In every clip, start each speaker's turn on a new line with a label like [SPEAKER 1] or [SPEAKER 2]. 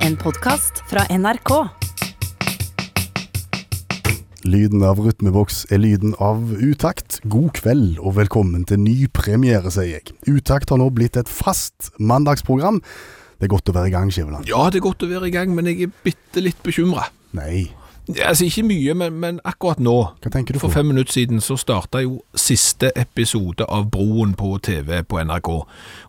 [SPEAKER 1] en podkast fra NRK.
[SPEAKER 2] Lyden av rytmeboks er lyden av utakt. God kveld og velkommen til ny premiere, sier jeg. Utakt har nå blitt et fast mandagsprogram. Det er godt å være i gang, Skiveland.
[SPEAKER 3] Ja, det er godt å være i gang, men jeg er bitte litt bekymra.
[SPEAKER 2] Nei,
[SPEAKER 3] Altså, ikke mye, men, men akkurat nå,
[SPEAKER 2] hva tenker du
[SPEAKER 3] for
[SPEAKER 2] på?
[SPEAKER 3] fem minutter siden, så starta jo siste episode av Broen på TV på NRK.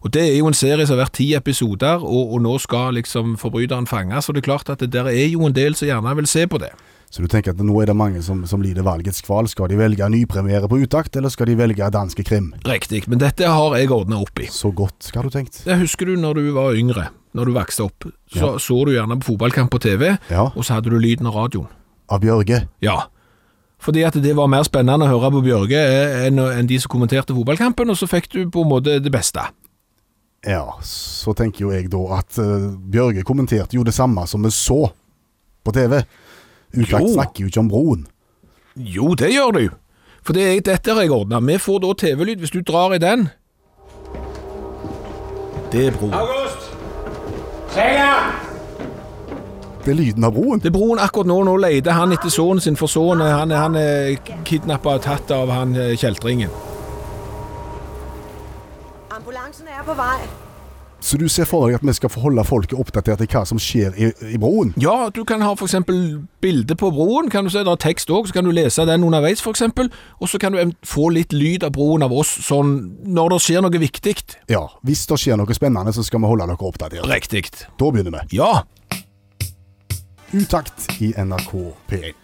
[SPEAKER 3] Og Det er jo en serie som har vært ti episoder, og, og nå skal liksom forbryteren fanges. Og det er klart at det der er jo en del som gjerne vil se på det.
[SPEAKER 2] Så du tenker at nå er det mange som, som lider valgets kval. Skal de velge nypremiere på utakt, eller skal de velge danske krim?
[SPEAKER 3] Riktig, men dette har jeg ordna opp i.
[SPEAKER 2] Så godt, hva har du tenkt?
[SPEAKER 3] Jeg husker du når du var yngre, når du vokste opp,
[SPEAKER 2] Ja.
[SPEAKER 3] så så du gjerne på fotballkamp på TV,
[SPEAKER 2] Ja,
[SPEAKER 3] og så hadde du lyden av radioen.
[SPEAKER 2] av Bjørge.
[SPEAKER 3] Ja. Fordi at det var mer spennende å høre på Bjørge eh, enn enn de som kommenterte fotballkampen, og så fikk du på en måte det beste.
[SPEAKER 2] Ja, så tenker jo jeg da at eh, Bjørge kommenterte jo det samme som vi så på TV. Utakt
[SPEAKER 3] Jo.
[SPEAKER 2] snakker jo ikke om broen.
[SPEAKER 3] Jo, det gjør du. For det er dette har jeg ordna. Vi får da TV-lyd hvis du drar i den. Det er broen.
[SPEAKER 4] August! Seger!
[SPEAKER 2] Det er lyden av broen.
[SPEAKER 3] Det er broen akkurat nå. Nå leter han etter sønnen sin, for sønnen han, han er kidnappa og tatt av han eh, kjeltringen.
[SPEAKER 5] Ambulancen er på vei.
[SPEAKER 2] Så du ser for deg at vi skal få holde folket oppdatert i hva som skjer i, i broen?
[SPEAKER 3] Ja, du kan ha for eksempel bilde på broen, kan du se, der er tekst òg, så kan du lese den underveis for eksempel, og så kan du em- få litt lyd av broen av oss, sånn når det skjer noe viktig.
[SPEAKER 2] Ja, hvis det skjer noe spennende, så skal vi holde dere oppdatert.
[SPEAKER 3] Riktig.
[SPEAKER 2] Da begynner vi.
[SPEAKER 3] Ja.
[SPEAKER 2] Utakt i NRK P1.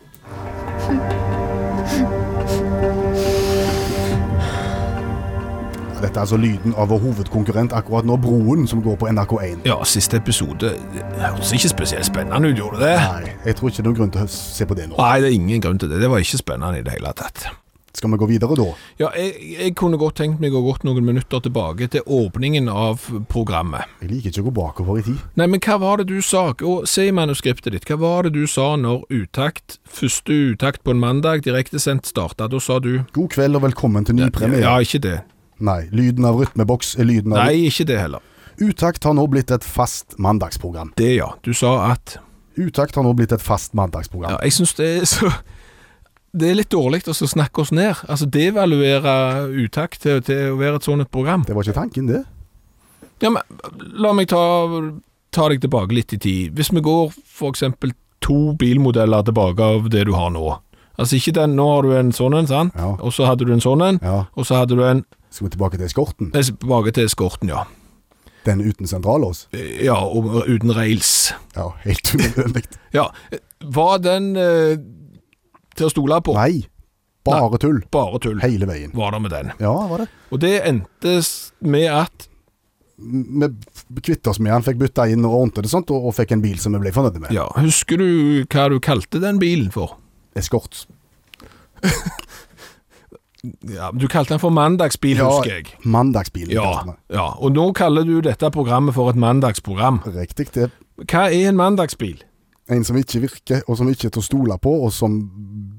[SPEAKER 2] Ja, Dette er altså lyden av vår hovedkonkurrent akkurat nå, Broen, som går på NRK1.
[SPEAKER 3] Ja, siste episode det hørtes ikke spesielt spennende ut, gjorde det?
[SPEAKER 2] Nei, jeg tror ikke det er grunn til å se på det nå.
[SPEAKER 3] Nei, det er ingen grunn til det. Det var ikke spennende i det hele tatt.
[SPEAKER 2] Skal vi gå videre da?
[SPEAKER 3] Ja, jeg, jeg kunne godt tenkt meg å gått noen minutter tilbake til åpningen av programmet.
[SPEAKER 2] Jeg liker ikke å gå bakover i tid.
[SPEAKER 3] Nei, men hva var det du sa? Og se i manuskriptet ditt, hva var det du sa når uttakt, første uttakt på en mandag, direktesendt, starta? Da sa du
[SPEAKER 2] God kveld og velkommen til ny premiere.
[SPEAKER 3] Ja, ikke det.
[SPEAKER 2] Nei, lyden av rytmeboks er lyden av
[SPEAKER 3] Nei, ikke det heller.
[SPEAKER 2] Utakt har nå blitt et fast mandagsprogram.
[SPEAKER 3] Det, ja. Du sa at
[SPEAKER 2] Utakt har nå blitt et fast mandagsprogram.
[SPEAKER 3] Ja, jeg syns det er så Det er litt dårlig å så snakke oss ned. Altså devaluere utakt til, til å være et sånt et program.
[SPEAKER 2] Det var ikke tanken, det.
[SPEAKER 3] Ja, men la meg ta, ta deg tilbake litt i tid. Hvis vi går for eksempel to bilmodeller tilbake av det du har nå. Altså ikke den, nå har du en sånn en, sant?
[SPEAKER 2] Ja.
[SPEAKER 3] Og så hadde du en sånn en,
[SPEAKER 2] Ja.
[SPEAKER 3] og så hadde du en
[SPEAKER 2] Skal vi tilbake til eskorten?
[SPEAKER 3] Nei, tilbake til eskorten, ja.
[SPEAKER 2] Den uten sentrallås?
[SPEAKER 3] Ja, og uten rails.
[SPEAKER 2] Ja, helt unødvendig.
[SPEAKER 3] Ja, var den eh, til å stole på?
[SPEAKER 2] Nei, bare tull.
[SPEAKER 3] Bare tull.
[SPEAKER 2] Hele veien.
[SPEAKER 3] Var det med den.
[SPEAKER 2] Ja, var det.
[SPEAKER 3] Og det endte s- med at
[SPEAKER 2] Vi kvittet oss med han, fikk bytta inn og ordnet det sånt, og, og fikk en bil som vi ble fornøyd med.
[SPEAKER 3] Ja, husker du hva du kalte den bilen for?
[SPEAKER 2] Eskort.
[SPEAKER 3] Ja, Du kalte den for mandagsbil, husker jeg.
[SPEAKER 2] Mandagsbilen.
[SPEAKER 3] Ja,
[SPEAKER 2] kalte vi
[SPEAKER 3] ja, og nå kaller du dette programmet for et mandagsprogram.
[SPEAKER 2] det. Riktig det.
[SPEAKER 3] Hva er en mandagsbil?
[SPEAKER 2] En som ikke virker, og som ikke er til å stole på, og som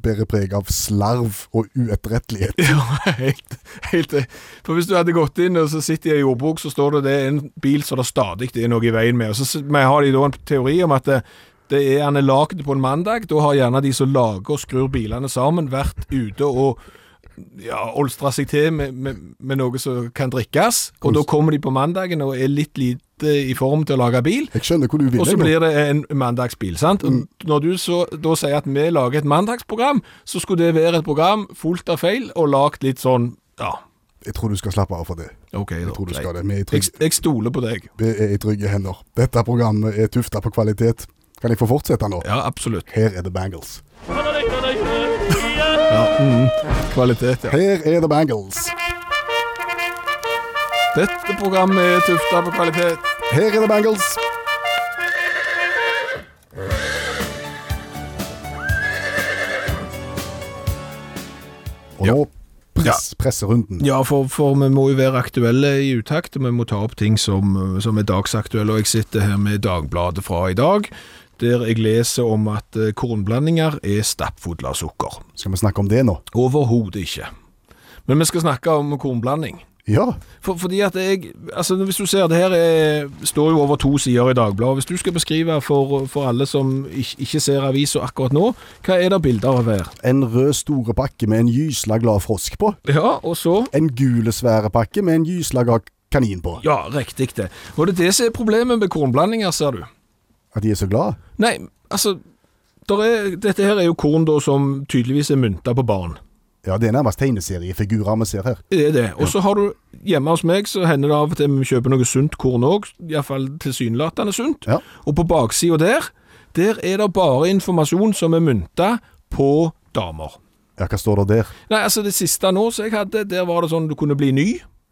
[SPEAKER 2] bærer preg av slarv og uetterrettelighet.
[SPEAKER 3] Ja, helt, helt eh. For hvis du hadde gått inn og så sitter jeg i jordbok, så står det det er en bil som det stadig er noe i veien med. Og så s- men har de da en teori om at det, det er han er lagd på en mandag. Da har gjerne de som lager og skrur bilene sammen, vært ute og ja, olstra seg til med, med, med noe som kan drikkes. Og da kommer de på mandagen og er litt lite i form til å lage bil.
[SPEAKER 2] Jeg skjønner hvor du vil.
[SPEAKER 3] Og så
[SPEAKER 2] jeg nå. Mm.
[SPEAKER 3] blir det en mandagsbil, sant? Og Når du så da sier at vi lager et mandagsprogram, så skulle det være et program fullt av feil og lagt litt sånn Ja,
[SPEAKER 2] Jeg tror du skal slappe av for det.
[SPEAKER 3] OK, da.
[SPEAKER 2] Jeg tror du
[SPEAKER 3] greit.
[SPEAKER 2] skal det. Vi er i
[SPEAKER 3] Jeg,
[SPEAKER 2] trygge,
[SPEAKER 3] jeg stoler på deg.
[SPEAKER 2] vi er i trygge hender. Dette programmet er tufta på kvalitet. Kan jeg få fortsette nå?
[SPEAKER 3] Ja, absolutt.
[SPEAKER 2] Her er det Bangles.
[SPEAKER 3] Kvalitet, ja.
[SPEAKER 2] Her er det Bangles.
[SPEAKER 3] Dette programmet er tufta på kvalitet.
[SPEAKER 2] Her er det Bangles. Og
[SPEAKER 3] Ja.
[SPEAKER 2] nå press, presserunden.
[SPEAKER 3] Ja, for, for vi må jo være aktuelle i utakt, og vi må ta opp ting som, som er dagsaktuelle. Og jeg sitter her med Dagbladet fra i dag, der jeg leser om at eh, kornblandinger er stappfodla sukker.
[SPEAKER 2] Skal vi snakke om det nå?
[SPEAKER 3] Overhodet ikke. Men vi skal snakke om kornblanding.
[SPEAKER 2] Ja.
[SPEAKER 3] For, fordi at jeg, altså Hvis du ser, det her er, står jo over to sider i Dagbladet. Hvis du skal beskrive for, for alle som ikke, ikke ser avisa akkurat nå, hva er det bilder av her?
[SPEAKER 2] En rød store pakke med en gysla glad frosk på.
[SPEAKER 3] Ja, og så
[SPEAKER 2] En gule svære pakke med en gysla glad kanin på.
[SPEAKER 3] Ja, riktig det. Og det er det som er problemet med kornblandinger, ser du.
[SPEAKER 2] At de er så glad.
[SPEAKER 3] Nei, altså der er, Dette her er jo korn da som tydeligvis er mynta på barn.
[SPEAKER 2] Ja, det er nærmest tegneseriefigurer vi ser her.
[SPEAKER 3] Det er det. Og så har du Hjemme hos meg så hender det av og til vi kjøper noe sunt korn òg, iallfall tilsynelatende sunt.
[SPEAKER 2] Ja.
[SPEAKER 3] Og på baksida der, der er det bare informasjon som er mynta på damer.
[SPEAKER 2] Ja, hva står det der?
[SPEAKER 3] Nei, altså det siste nå som jeg hadde, der var det sånn du kunne bli ny.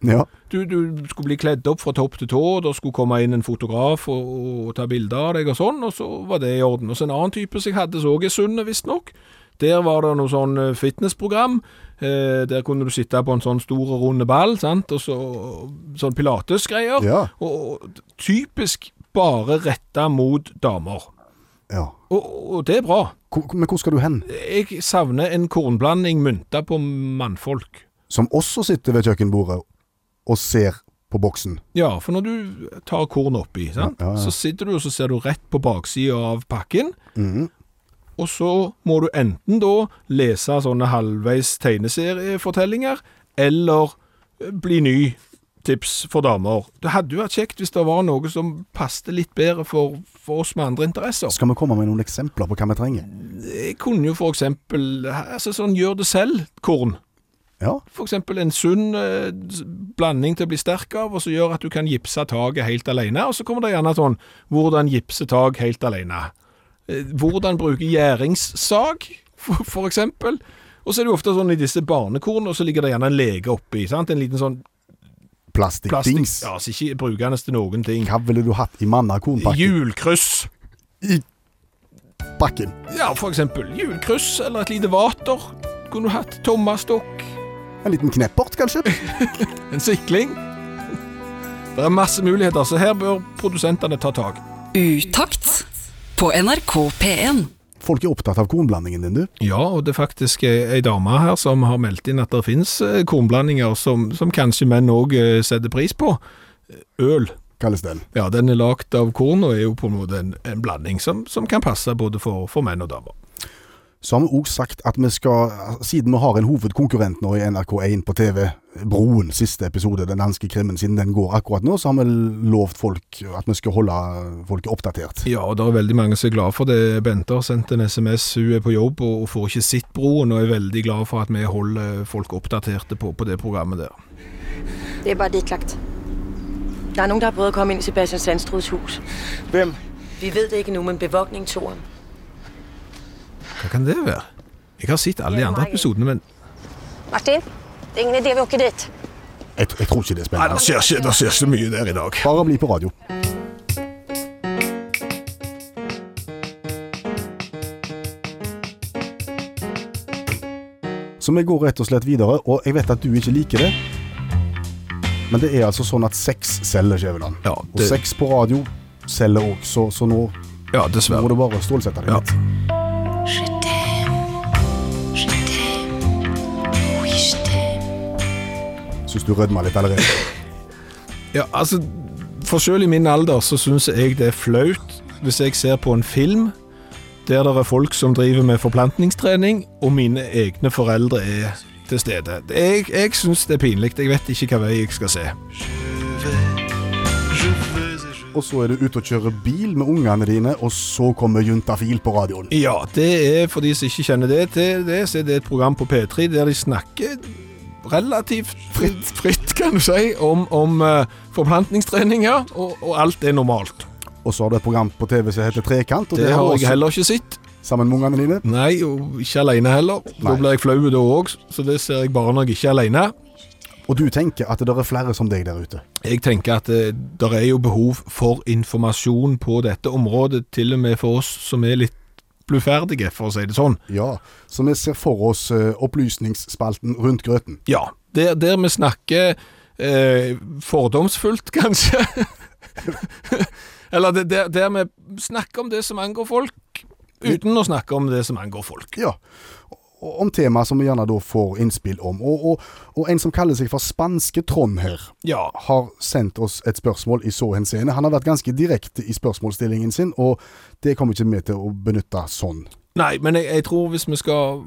[SPEAKER 2] Ja.
[SPEAKER 3] Du, du skulle bli kledd opp fra topp til tå, og der skulle komme inn en fotograf og, og ta bilder av deg og sånn, og så var det i orden. Og så en annen type som jeg hadde, som òg er sunn, visstnok. Der var det noe sånn eh, fitnessprogram. Eh, der kunne du sitte på en sånn stor og runde ball, sant, og så sånn pilatesgreier.
[SPEAKER 2] Ja.
[SPEAKER 3] Og, og typisk bare retta mot damer.
[SPEAKER 2] ja.
[SPEAKER 3] Og, og det er bra.
[SPEAKER 2] Hvor, men hvor skal du hen?
[SPEAKER 3] Jeg savner en kornblanding mynta på mannfolk.
[SPEAKER 2] Som også sitter ved kjøkkenbordet og ser på boksen.
[SPEAKER 3] Ja, for når du tar korn oppi, sant?
[SPEAKER 2] Ja, ja, ja.
[SPEAKER 3] så sitter du og så ser du rett på baksida av pakken.
[SPEAKER 2] Mhm.
[SPEAKER 3] Og så må du enten da lese sånne halvveis tegneseriefortellinger, eller eh, bli ny tips for damer. Det hadde jo vært kjekt hvis det var noe som passte litt bedre for, for oss med andre interesser.
[SPEAKER 2] Skal vi komme med noen eksempler på hva vi trenger?
[SPEAKER 3] Jeg kunne jo for eksempel altså sånn gjør det selv-korn.
[SPEAKER 2] Ja.
[SPEAKER 3] For eksempel en sunn eh, s- blanding til å bli sterk av, og som gjør at du kan gipse taket helt alene. Og så kommer det gjerne sånn hvordan gipse tak helt alene. Eh, Hvordan bruke gjæringssag, for, for eksempel. Og så er det jo ofte sånn i disse barnekornene, så ligger det gjerne en lege oppi. sant? En liten sånn plastikk...
[SPEAKER 2] Plastikkdings.
[SPEAKER 3] Ja, så ikke brukende til noen ting.
[SPEAKER 2] Hva ville du hatt i mannakornpakken?
[SPEAKER 3] Hjulkryss.
[SPEAKER 2] I pakken.
[SPEAKER 3] Ja, for eksempel. Hjulkryss eller et lite vater. Kunne du hatt tommastokk.
[SPEAKER 2] En liten kneppert, kanskje?
[SPEAKER 3] En sikling. Det er masse muligheter, så her bør produsentene ta tak.
[SPEAKER 1] Utakt på NRK P1.
[SPEAKER 2] Folk er opptatt av kornblandingen din, du.
[SPEAKER 3] Ja, og det er faktisk eh, ei dame her som har meldt inn at det finnes eh, kornblandinger som, som kanskje menn òg setter pris på. Eh, Øl.
[SPEAKER 2] Kalles den.
[SPEAKER 3] Ja, den er lagd av korn og er jo på en måte en, en blanding som, som kan passe både for, for menn og damer.
[SPEAKER 2] Så har vi òg sagt at vi skal, siden vi har en hovedkonkurrent nå i NRK1 på TV, Broen, siste episode, den danske krimmen, siden den går akkurat nå, så har vi lovt folk at vi skal holde folk oppdatert.
[SPEAKER 3] Ja, og det er veldig mange som er glad for det. Bente har sendt en SMS, hun er på jobb og, og får ikke sitt broen, og er veldig glad for at vi holder folk oppdaterte på, på det programmet der.
[SPEAKER 5] Det er bare det klagt. Der er nogen, der har prøvet at komme ind i Sebastian Sandstruds hus.
[SPEAKER 4] Hvem?
[SPEAKER 5] Vi ved det ikke nu, men bevogtning tog ham.
[SPEAKER 3] Hva kan det være? Jeg har sett alle de andre episodene, men
[SPEAKER 6] Martin, det är ingen idé vi åker dit.
[SPEAKER 2] Jeg, jeg tror ikke det er spennende.
[SPEAKER 3] skjer ikke det skjer så mye der i dag.
[SPEAKER 2] Bare bli på radio. Så vi går rett og slett videre, og jeg vet at du ikke liker det. Men det er altså sånn at sex selger, Skjæveland.
[SPEAKER 3] Ja,
[SPEAKER 2] Og
[SPEAKER 3] det-
[SPEAKER 2] sex på radio selger òg, så, så nå
[SPEAKER 3] Ja,
[SPEAKER 2] må
[SPEAKER 3] dessverre.
[SPEAKER 2] du bare stålsette deg
[SPEAKER 3] Ja.
[SPEAKER 2] litt. Syns du rødma litt allerede?
[SPEAKER 3] Ja, altså, for selv i min alder så syns jeg det er flaut hvis jeg ser på en film der det er folk som driver med forplantningstrening, og mine egne foreldre er til stede. Jeg, jeg syns det er pinlig. Jeg vet ikke hva vei jeg skal se.
[SPEAKER 2] Og så er du ute og kjører bil med ungene dine, og så kommer Juntafil på radioen.
[SPEAKER 3] Ja, det er for de som ikke kjenner det til det, så er det et program på P3 der de snakker relativt fritt, fritt kan du si, om, om eh, forplantningstreninger, og, og alt er normalt.
[SPEAKER 2] Og så har du et program på TV som heter Trekant, og
[SPEAKER 3] Det har jeg
[SPEAKER 2] også
[SPEAKER 3] heller ikke sett.
[SPEAKER 2] sammen med ungene dine.
[SPEAKER 3] Nei, og ikke alene heller.
[SPEAKER 2] Nei.
[SPEAKER 3] Da blir jeg flau da òg, så det ser jeg bare når jeg ikke er alene.
[SPEAKER 2] Og du tenker at det er flere som deg der ute.
[SPEAKER 3] Jeg tenker at det der er jo behov for informasjon på dette området, til og med for oss som er litt bluferdige, for å si det sånn.
[SPEAKER 2] Ja, så vi ser for oss eh, opplysningsspalten rundt grøten.
[SPEAKER 3] Ja, der, der vi snakker eh, fordomsfullt, kanskje. Eller det, der, der vi snakker om det som angår folk, uten å snakke om det som angår folk.
[SPEAKER 2] Ja. om tema som vi gjerne da får innspill om. Og, og, og en som kaller seg for Spanske Trond her,
[SPEAKER 3] Ja.
[SPEAKER 2] har sendt oss et spørsmål i så henseende. Han har vært ganske direkte i spørsmålsstillingen sin, og det kommer ikke vi til å benytte sånn.
[SPEAKER 3] Nei, men jeg, jeg tror hvis vi skal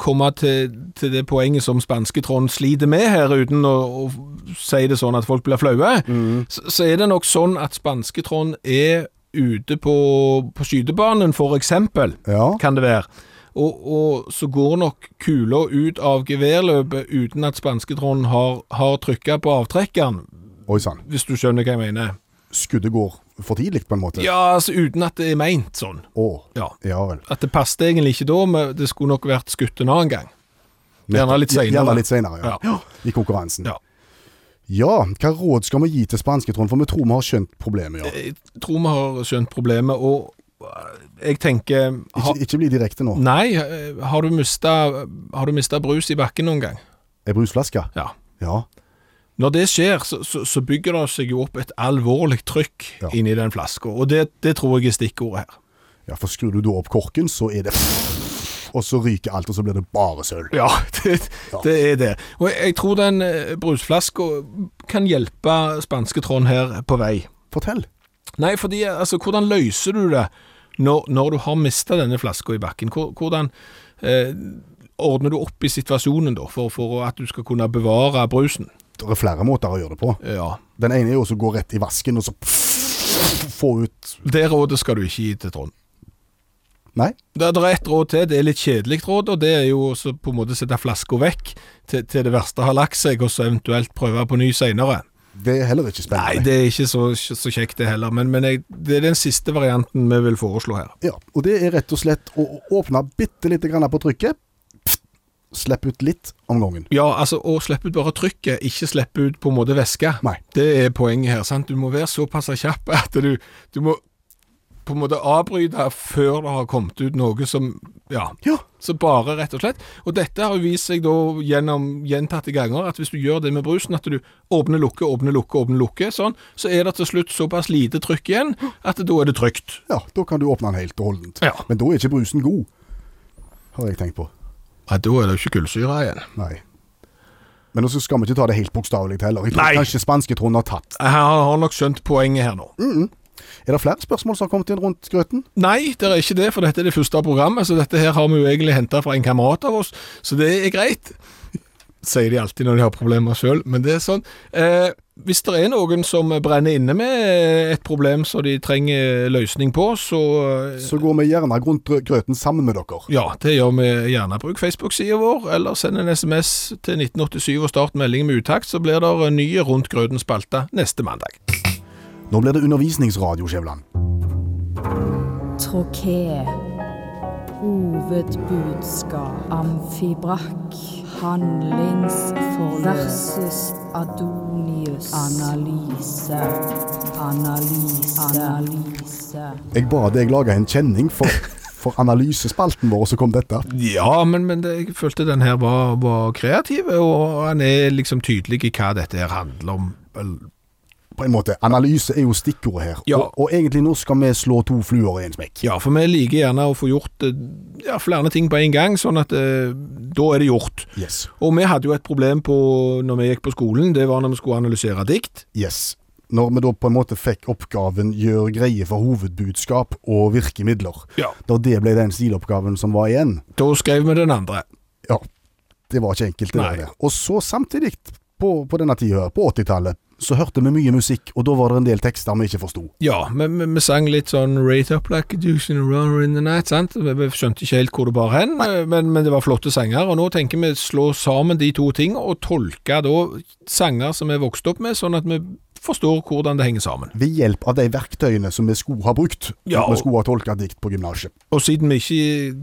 [SPEAKER 3] komme til, til det poenget som spanske Trond sliter med her, uten å, å si det sånn at folk blir flaue, så, så er det nok sånn at spanske Trond er ute på, på skytebanen, for eksempel,
[SPEAKER 2] Ja.
[SPEAKER 3] kan det være. Og, og så går nok kula ut av geværløpet uten at spanske Trond har, har trykka på avtrekkeren,
[SPEAKER 2] Oi sann.
[SPEAKER 3] hvis du skjønner hva jeg mener.
[SPEAKER 2] Skuddet går for tidlig, på en måte.
[SPEAKER 3] Ja, altså uten at det er meint sånn.
[SPEAKER 2] Å.
[SPEAKER 3] Ja.
[SPEAKER 2] Ja vel.
[SPEAKER 3] At det passet egentlig ikke da, men det skulle nok vært skutt en annen gang. Gjerne litt senere.
[SPEAKER 2] Gjerne litt senere, ja.
[SPEAKER 3] Ja.
[SPEAKER 2] I konkurransen.
[SPEAKER 3] Ja.
[SPEAKER 2] Ja, hva råd skal vi gi til spanske, Trond? For vi tror vi har skjønt problemet, ja.
[SPEAKER 3] Jeg tror vi har skjønt problemet, og eh, jeg tenker ha,
[SPEAKER 2] Ikke, ikke bli direkte nå.
[SPEAKER 3] Nei, eh, har du mista Har du mistet brus i bakken noen gang?
[SPEAKER 2] Er brusflaske?
[SPEAKER 3] Ja.
[SPEAKER 2] Ja.
[SPEAKER 3] Når det skjer, så, så, så bygger det seg jo opp et alvorlig trykk
[SPEAKER 2] Ja.
[SPEAKER 3] inni den flaska, og det, det tror jeg er stikkordet her.
[SPEAKER 2] ja. For skrur du da opp korken, så er det Og så ryker alt, og så blir det bare søl.
[SPEAKER 3] Ja, det, det er det. Og jeg, jeg tror den eh, brusflaska kan hjelpe spanske Trond her på vei.
[SPEAKER 2] Fortell.
[SPEAKER 3] Nei, fordi altså, hvordan løser du det når, når du har mista denne flaska i bakken? Hvor- Hvordan eh, ordner du opp i situasjonen da, for, for at du skal kunne bevare brusen?
[SPEAKER 2] Det er flere måter å gjøre det på.
[SPEAKER 3] Ja,
[SPEAKER 2] Den ene er jo også å gå rett i vasken, og så få ut
[SPEAKER 3] Det rådet skal du ikke gi til Trond.
[SPEAKER 2] Nei?
[SPEAKER 3] Det det er ett råd til, det er litt kjedelig råd, og det er jo også på en måte sette flaska vekk til, til det verste har lagt seg, og så eventuelt prøve på ny seinere.
[SPEAKER 2] Det er heller ikke
[SPEAKER 3] Nei,
[SPEAKER 2] spennende.
[SPEAKER 3] det er ikke så, så kjekt det heller, men, men jeg, det er den siste varianten vi vil foreslå her.
[SPEAKER 2] Ja, og det er rett og slett å å åpne bitte lite grann på trykket. Slipp ut litt om gangen.
[SPEAKER 3] Ja, altså å slippe ut bare trykket, ikke slippe ut på en måte væske.
[SPEAKER 2] Nei.
[SPEAKER 3] Det er poenget her. sant? Du må være såpass kjapp at du, du må på en måte avbryte før det har kommet ut noe som Ja.
[SPEAKER 2] Ja.
[SPEAKER 3] Så bare, rett og slett. Og dette har jo vist seg da gjennom gjentatte ganger at hvis du gjør det med brusen, at du åpner, lukker, åpner, lukker, åpner, lukker, sånn, så er det til slutt såpass lite trykk igjen at da er det trygt.
[SPEAKER 2] Ja, da kan du åpne den helt og holdent.
[SPEAKER 3] Ja.
[SPEAKER 2] Men da er ikke brusen god, har jeg tenkt på.
[SPEAKER 3] Ja, da er det jo ikke kullsyre igjen.
[SPEAKER 2] Nei. Men også skal vi ikke ta det helt bokstavelig heller. Jeg tror
[SPEAKER 3] Nei.
[SPEAKER 2] kanskje spanske Trond har tatt.
[SPEAKER 3] Jeg har har nok skjønt poenget her nå.
[SPEAKER 2] Er det flere spørsmål som har kommet inn rundt grøten?
[SPEAKER 3] Nei, det er ikke det, for dette er det første programmet, så dette her har vi jo egentlig henta fra en kamerat av oss, så det er greit. Sier de alltid når de har problemer sjøl, men det er sånn. Eh, hvis det er noen som brenner inne med et problem som de trenger løsning på, så eh,
[SPEAKER 2] Så går vi gjerne rundt grø- grøten sammen med dere.
[SPEAKER 3] ja, det gjør vi gjerne. Bruk Facebook-sida vår, eller send en SMS til 1987 og start melding med utakt, så blir det nye Rundt grøten-spalte neste mandag.
[SPEAKER 2] Nå blir det undervisningsradio, Skjævland.
[SPEAKER 7] Trokee. Hovedbudskap. Amfibrakk. Handlingsforløp. Versus Adonius. Analyse. Analyse. Analyse.
[SPEAKER 2] Jeg ba deg lage en kjenning for, for analysespalten vår, og så kom dette.
[SPEAKER 3] Ja, men, men det, jeg følte den her var, var kreativ, og han er liksom tydelig i hva dette her handler om. Vel,
[SPEAKER 2] På en måte, analyse er jo stikkordet her.
[SPEAKER 3] Ja.
[SPEAKER 2] Og, og egentlig nå skal vi slå to fluer i en smekk.
[SPEAKER 3] Ja, for vi liker gjerne å få gjort eh, ja, flere ting på en gang, sånn at eh, da er det gjort.
[SPEAKER 2] Yes.
[SPEAKER 3] Og vi hadde jo et problem på, når vi gikk på skolen, det var når vi skulle analysere dikt.
[SPEAKER 2] Yes. Når vi da på en måte fikk oppgaven gjør greie for hovedbudskap og virkemidler.
[SPEAKER 3] Ja.
[SPEAKER 2] Da det ble den stiloppgaven som var igjen.
[SPEAKER 3] Da skrev vi den andre.
[SPEAKER 2] Ja, det var ikke enkelt. det
[SPEAKER 3] Nei.
[SPEAKER 2] var det. Og så samtidig, på, på denne tida, her, på 80-tallet, så hørte vi mye musikk, og da var det en del tekster vi ikke forsto.
[SPEAKER 3] Ja, vi, vi, vi sang litt sånn Rate up like a douche in a roar in the night, sant? Vi, vi skjønte ikke helt hvor det bar hen, men, men det var flotte sanger, og nå tenker vi slå sammen de to ting, og tolke da sanger som vi er vokst opp med, sånn at vi forstår hvordan det henger sammen.
[SPEAKER 2] Ved hjelp av de verktøyene som vi skulle ha brukt.
[SPEAKER 3] Ja,
[SPEAKER 2] Vi
[SPEAKER 3] og-
[SPEAKER 2] skulle ha tolka dikt på gymnaset.
[SPEAKER 3] Og siden vi ikke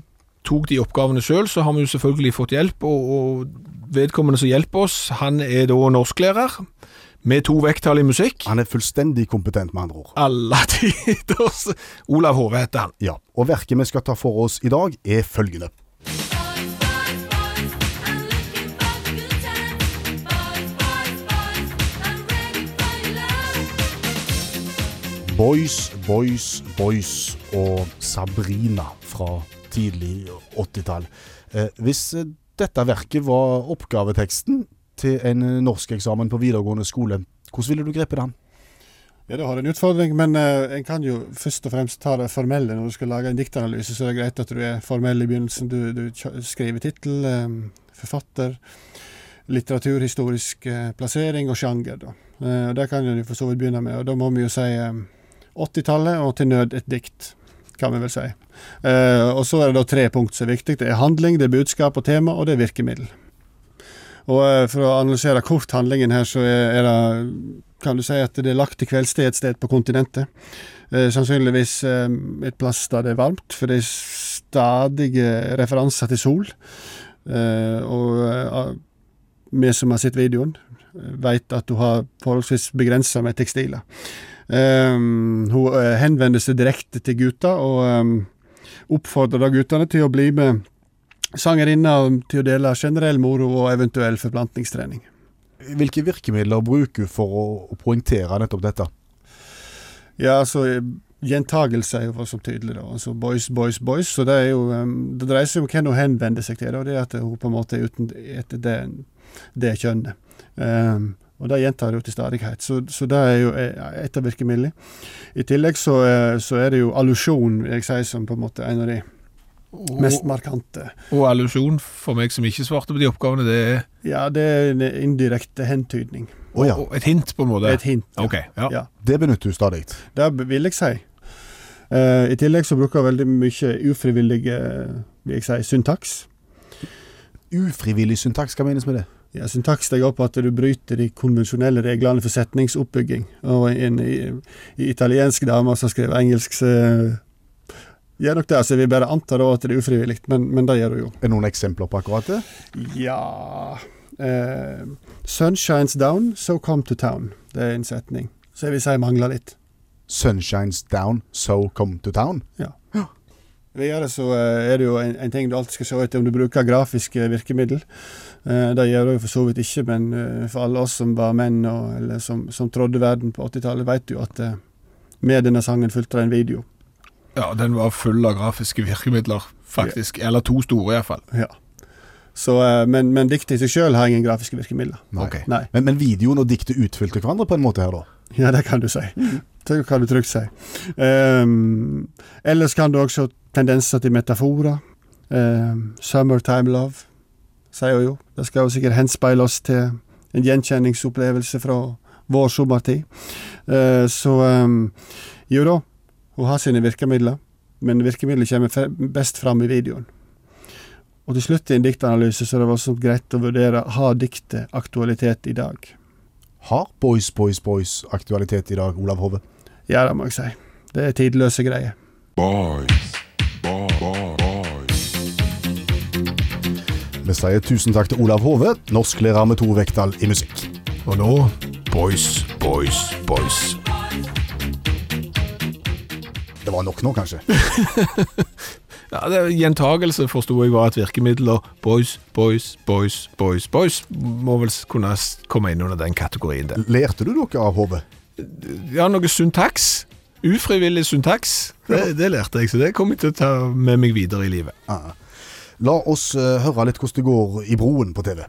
[SPEAKER 3] tok de oppgavene sjøl, så har vi jo selvfølgelig fått hjelp, og, og vedkommende som hjelper oss, han er da norsklærer, med to vekttall i musikk.
[SPEAKER 2] Han er fullstendig kompetent, med andre ord.
[SPEAKER 3] Alle tiders Olav Hove heter han.
[SPEAKER 2] Ja, Og verket vi skal ta for oss i dag, er følgende.
[SPEAKER 8] Boys, boys, boys, I'm looking for the good times. Boys, boys, boys, I'm
[SPEAKER 2] Boys,
[SPEAKER 8] ready for your love.
[SPEAKER 2] Boys, Boys og Sabrina fra tidlig 80-tall. Eh, hvis eh, dette verket var oppgaveteksten til en eh, norskeksamen på videregående skole, hvordan ville du grepet den?
[SPEAKER 9] Ja, Da har du en utfordring, men eh, en kan jo først og fremst ta det formelle når du skal lage en diktanalyse. Så er det greit at du er formell i begynnelsen. Du, du kjø- skriver tittel, eh, forfatter, litteraturhistorisk eh, plassering og sjanger. da. Eh, og Det kan du for så vidt begynne med. og Da må vi jo si eh, 80-tallet og til nød et dikt, kan vi vel si. Eh, og Så er det da tre punkt som er viktig. Det er handling, det er budskap og tema, og det er virkemiddel. Og eh, For å analysere kort handlingen her, så er, er det kan du si at det er lagt til kveldstid et sted på kontinentet. Eh, sannsynligvis eh, et plass der det er varmt, for det er stadige referanser til sol. Eh, og eh, vi som har sett videoen, eh, vet at hun har forholdsvis begrensa med tekstiler. Eh, hun eh, henvender seg direkte til gutta og eh, oppfordrer da guttene til å bli med sangerinna til å dele generell moro og eventuell forplantningstrening.
[SPEAKER 2] Hvilke virkemidler bruker du for å, å poengtere nettopp dette?
[SPEAKER 9] Ja, altså eh, Gjentagelse er jo voldsomt tydelig, da. Altså boys, boys, boys. Så det er jo em, Det dreier seg om hvem hun henvender seg til, da. Det er at hun på en måte er uten etter det, det kjønnet. Em, og det gjentar hun til stadighet. Så, så det er jo eh, et av virkemidlene. I tillegg så, eh, så er det jo allusjon, vil jeg si, som på en måte en av de mest markante.
[SPEAKER 3] Og allusjon for meg som ikke svarte på de oppgavene, det er
[SPEAKER 9] Ja, det er en indirekte hentydning.
[SPEAKER 2] Å ja,
[SPEAKER 3] og et hint, på en måte.
[SPEAKER 9] Et hint. ja.
[SPEAKER 3] Ok, ja.
[SPEAKER 9] Ja.
[SPEAKER 2] det benytter du stadig.
[SPEAKER 9] Det vil jeg si. Eh, I tillegg så bruker jeg veldig mye ufrivillige vil jeg si, syntaks.
[SPEAKER 2] Ufrivillig syntaks, hva menes med det?
[SPEAKER 9] Ja, syntaks det går på at du bryter de konvensjonelle reglene for setningsoppbygging. Og en i, i italiensk dame som skriver engelsk, så gjør nok det. Så vi bare antar da at det er ufrivillig, men, men det gjør hun jo.
[SPEAKER 2] Er det noen eksempler på akkurat det?
[SPEAKER 9] Ja eh, Sun shines down, so come to town. Det er en setning. Så jeg vil si mangler litt.
[SPEAKER 2] Sunshines down, so come to town.
[SPEAKER 9] Videre så eh, er det jo en, en ting du alltid skal se etter om du bruker grafiske virkemiddel. Eh, Det gjør du jo for så vidt ikke, men eh, for alle oss som var menn og eller som, som trådde verden på 80-tallet, vet jo at eh, med denne sangen fulgte det en video.
[SPEAKER 3] ja, den var full av grafiske virkemidler, faktisk. Eller to store, iallfall.
[SPEAKER 9] Ja. Så, eh, men, men diktet i seg sjøl har ingen grafiske virkemidler.
[SPEAKER 2] Nei.
[SPEAKER 3] Ok.
[SPEAKER 9] Nei.
[SPEAKER 2] Men, men videoen og diktet utfylte hverandre på en måte her, da?
[SPEAKER 9] Ja, det kan du si. Det kan du trygt si. Ehm, ellers kan du også se tendenser til metaforer. Ehm, 'Summertime Love', sier hun jo. Det skal jo sikkert henspeile oss til en gjenkjenningsopplevelse fra vår sommertid. Eh, så ehm, jo da, hun har sine virkemidler, men virkemidlet kommer fre- best fram i videoen. Og til slutt i en diktanalyse så er det voldsomt greit å vurdere har diktet aktualitet i dag.
[SPEAKER 2] Har Boys Boys Boys aktualitet i dag, Olav Hove?
[SPEAKER 9] Ja, det må jeg si. Det er tidløse greier.
[SPEAKER 2] Vi sier tusen takk til Olav Hove, norsklærer med to vekttall i musikk.
[SPEAKER 3] Og nå Boys, boys, boys.
[SPEAKER 2] Det var nok nå, kanskje?
[SPEAKER 3] Ja, det, gjentagelse forsto jeg var et virkemiddel, og boys, boys, boys, boys, boys må vel s- kunne s- komme inn under den kategorien der.
[SPEAKER 2] Lærte du noe av Hove?
[SPEAKER 3] Ja, noe syntaks. Ufrivillig syntaks. Det, det lærte jeg, så det kommer jeg til å ta med meg videre i livet.
[SPEAKER 2] La oss eh, høre litt hvordan det går i broen på TV.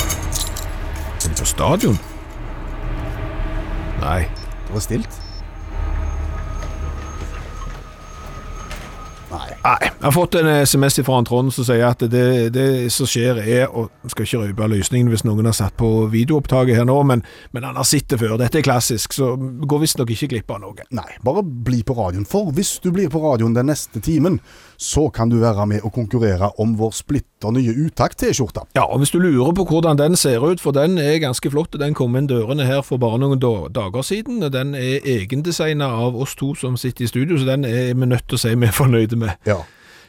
[SPEAKER 3] Er det på stadion? Nei.
[SPEAKER 2] Det var stilt. Nei.
[SPEAKER 3] Nei. Jeg har fått en SMS fra han Trond som sier at det, det som skjer er Og jeg skal ikke røpe løsningen hvis noen har satt på videoopptaket her nå, men, men han har sett det før. Dette er klassisk, så går visstnok ikke glipp av noe.
[SPEAKER 2] Nei, bare bli på radioen. For hvis du blir på radioen den neste timen, så kan du være med og konkurrere om vår splitter nye Utakt-T-skjorte.
[SPEAKER 3] Ja, og hvis du lurer på hvordan den ser ut, for den er ganske flott, og den kom inn dørene her for bare noen da- dager siden, og den er egendesignet av oss to som sitter i studio, så den er vi nødt til å si vi er fornøyde med.
[SPEAKER 2] Ja.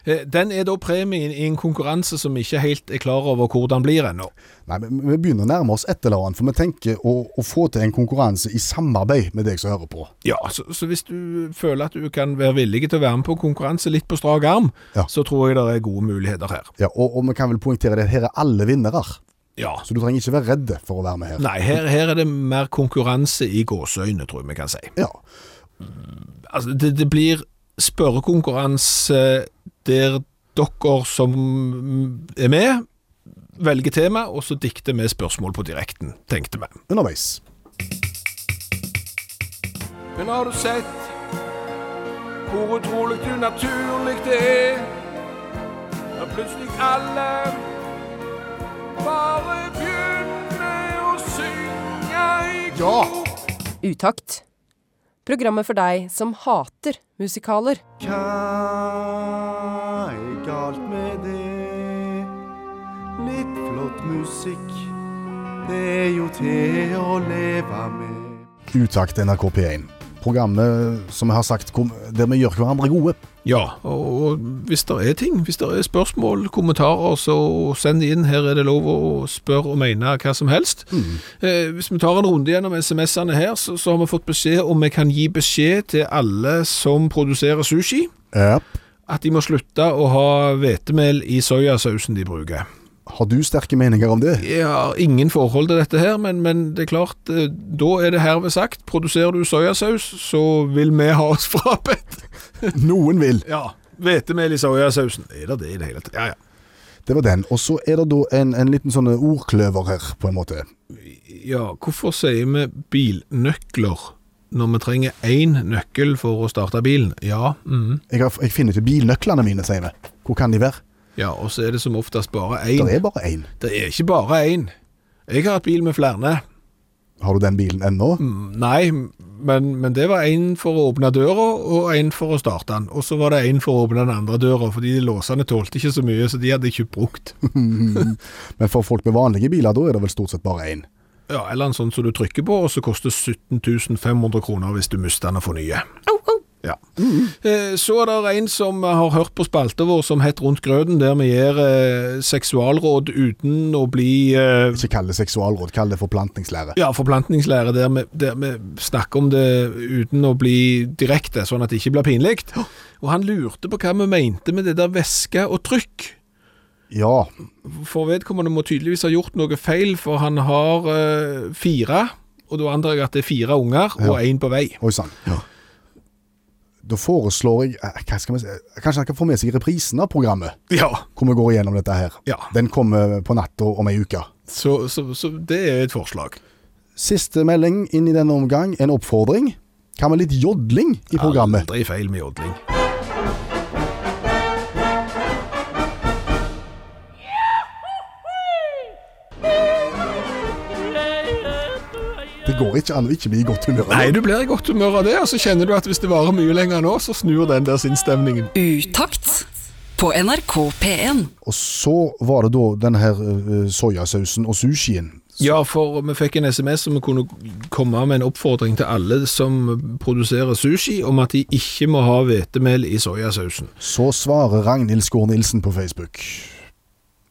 [SPEAKER 3] Eh, Den er da premien i en konkurranse som vi ikke helt er klar over hvordan blir ennå.
[SPEAKER 2] Nei, men Vi begynner å nærme oss et eller annet, for vi tenker å, å få til en konkurranse i samarbeid med deg som hører på.
[SPEAKER 3] Ja, så, så hvis du føler at du kan være villig til å være med på konkurranse litt på strak arm,
[SPEAKER 2] Ja.
[SPEAKER 3] så tror jeg det er gode muligheter her.
[SPEAKER 2] Ja, og, og vi kan vel poengtere det, her er alle vinnere,
[SPEAKER 3] Ja.
[SPEAKER 2] så du trenger ikke være redde for å være med her.
[SPEAKER 3] Nei, her, her er det mer konkurranse i gåseøyne, tror jeg vi kan si.
[SPEAKER 2] Ja,
[SPEAKER 3] Altså, det, det blir spørrekonkurranse der dere som er med, velger tema, og så dikter vi spørsmål på direkten, tenkte vi.
[SPEAKER 2] underveis.
[SPEAKER 3] Men har du sett hvor utrolig unaturlig det er at plutselig alle bare begynner å synge i
[SPEAKER 2] Ja!
[SPEAKER 10] Utakt. Programmet for deg som hater musikaler.
[SPEAKER 11] Hva er galt med det? Litt flott musikk, det er jo til å leve med.
[SPEAKER 2] Utakt NRK P1. Programmet som jeg har sagt, kom- der vi gjør hverandre gode.
[SPEAKER 3] Ja, og, og hvis det er ting, hvis det er spørsmål, kommentarer, så send de inn. Her er det lov å spørre og mene hva som helst. Eh, hvis vi tar en runde gjennom SMS-ene her, så, så har vi fått beskjed om vi kan gi beskjed til alle som produserer sushi.
[SPEAKER 2] Ja.
[SPEAKER 3] at de må slutte å ha hvetemel i soyasausen de bruker.
[SPEAKER 2] Har du sterke meninger om det?
[SPEAKER 3] Jeg har ingen forhold til dette her, men, men det er klart, eh, da er det herved sagt, produserer du soyasaus, så vil vi ha oss frabedt.
[SPEAKER 2] Noen vil.
[SPEAKER 3] Ja, hvetemel i sojasausen. Er det det i det hele tatt? Ja, ja.
[SPEAKER 2] Det var den. Og så er det da en, en liten sånn ordkløver her, på en måte.
[SPEAKER 3] Ja, hvorfor sier vi bilnøkler når vi trenger én nøkkel for å starte bilen? Ja, mhm.
[SPEAKER 2] Jeg, har, jeg finner ikke bilnøklene mine, sier vi. Hvor kan de være?
[SPEAKER 3] ja, og så er det som oftest bare
[SPEAKER 2] Det
[SPEAKER 3] én.
[SPEAKER 2] er bare én.
[SPEAKER 3] Det er ikke bare én. Jeg har hatt bil med flere.
[SPEAKER 2] Har du den bilen ennå?
[SPEAKER 3] Mm, Nei, men, men det var en for å åpne døra, og en for å starte den. Og så var det en for å åpne den andre døra, fordi de låsene tålte ikke så mye, så de hadde jeg ikke brukt.
[SPEAKER 2] Men for folk med vanlige biler, da er det vel stort sett bare én.
[SPEAKER 3] Ja, Eller en sånn som du trykker på, og så koster 17 500 kroner hvis du mister den og får nye. Ja. Eh, Så er det en som har hørt på spalta vår som het Rundt grøten, der vi gir eh, seksualråd uten å bli eh,
[SPEAKER 2] Ikke kall det seksualråd, kall det forplantningslære.
[SPEAKER 3] Ja, forplantningslære, der vi, der vi snakker om det uten å bli direkte, sånn at det ikke blir pinlig. Og han lurte på hva vi mente med det der væske og trykk.
[SPEAKER 2] Ja,
[SPEAKER 3] For vedkommende må tydeligvis ha gjort noe feil, for han har eh, fire, og da antar jeg at det er fire unger og én på vei.
[SPEAKER 2] oi sann. Da foreslår jeg eh, hva skal vi si? Kanskje han kan få med seg reprisen av programmet,
[SPEAKER 3] Ja.
[SPEAKER 2] hvor vi går igjennom dette her.
[SPEAKER 3] Ja.
[SPEAKER 2] Den kommer på natta om ei uke.
[SPEAKER 3] Så, så, så det er et forslag.
[SPEAKER 2] Siste melding inn i denne omgang, en oppfordring. Kan vi litt jodling i programmet?
[SPEAKER 3] Aldri feil med jodling.
[SPEAKER 2] Det går ikke an å ikke bli i godt humør.
[SPEAKER 3] Nei, du blir i godt humør av det, og så kjenner du at hvis det varer mye lenger nå, så snur den der sinnsstemningen.
[SPEAKER 1] Utakt på NRK P1.
[SPEAKER 2] Og så var det da den her eh, soyasausen og sushien.
[SPEAKER 3] Ja, for vi fikk en SMS som vi kunne komme med en oppfordring til alle som produserer sushi, om at de ikke må ha hvetemel i soyasausen.
[SPEAKER 2] Så svarer Ragnhild Skår-Nilsen på Facebook.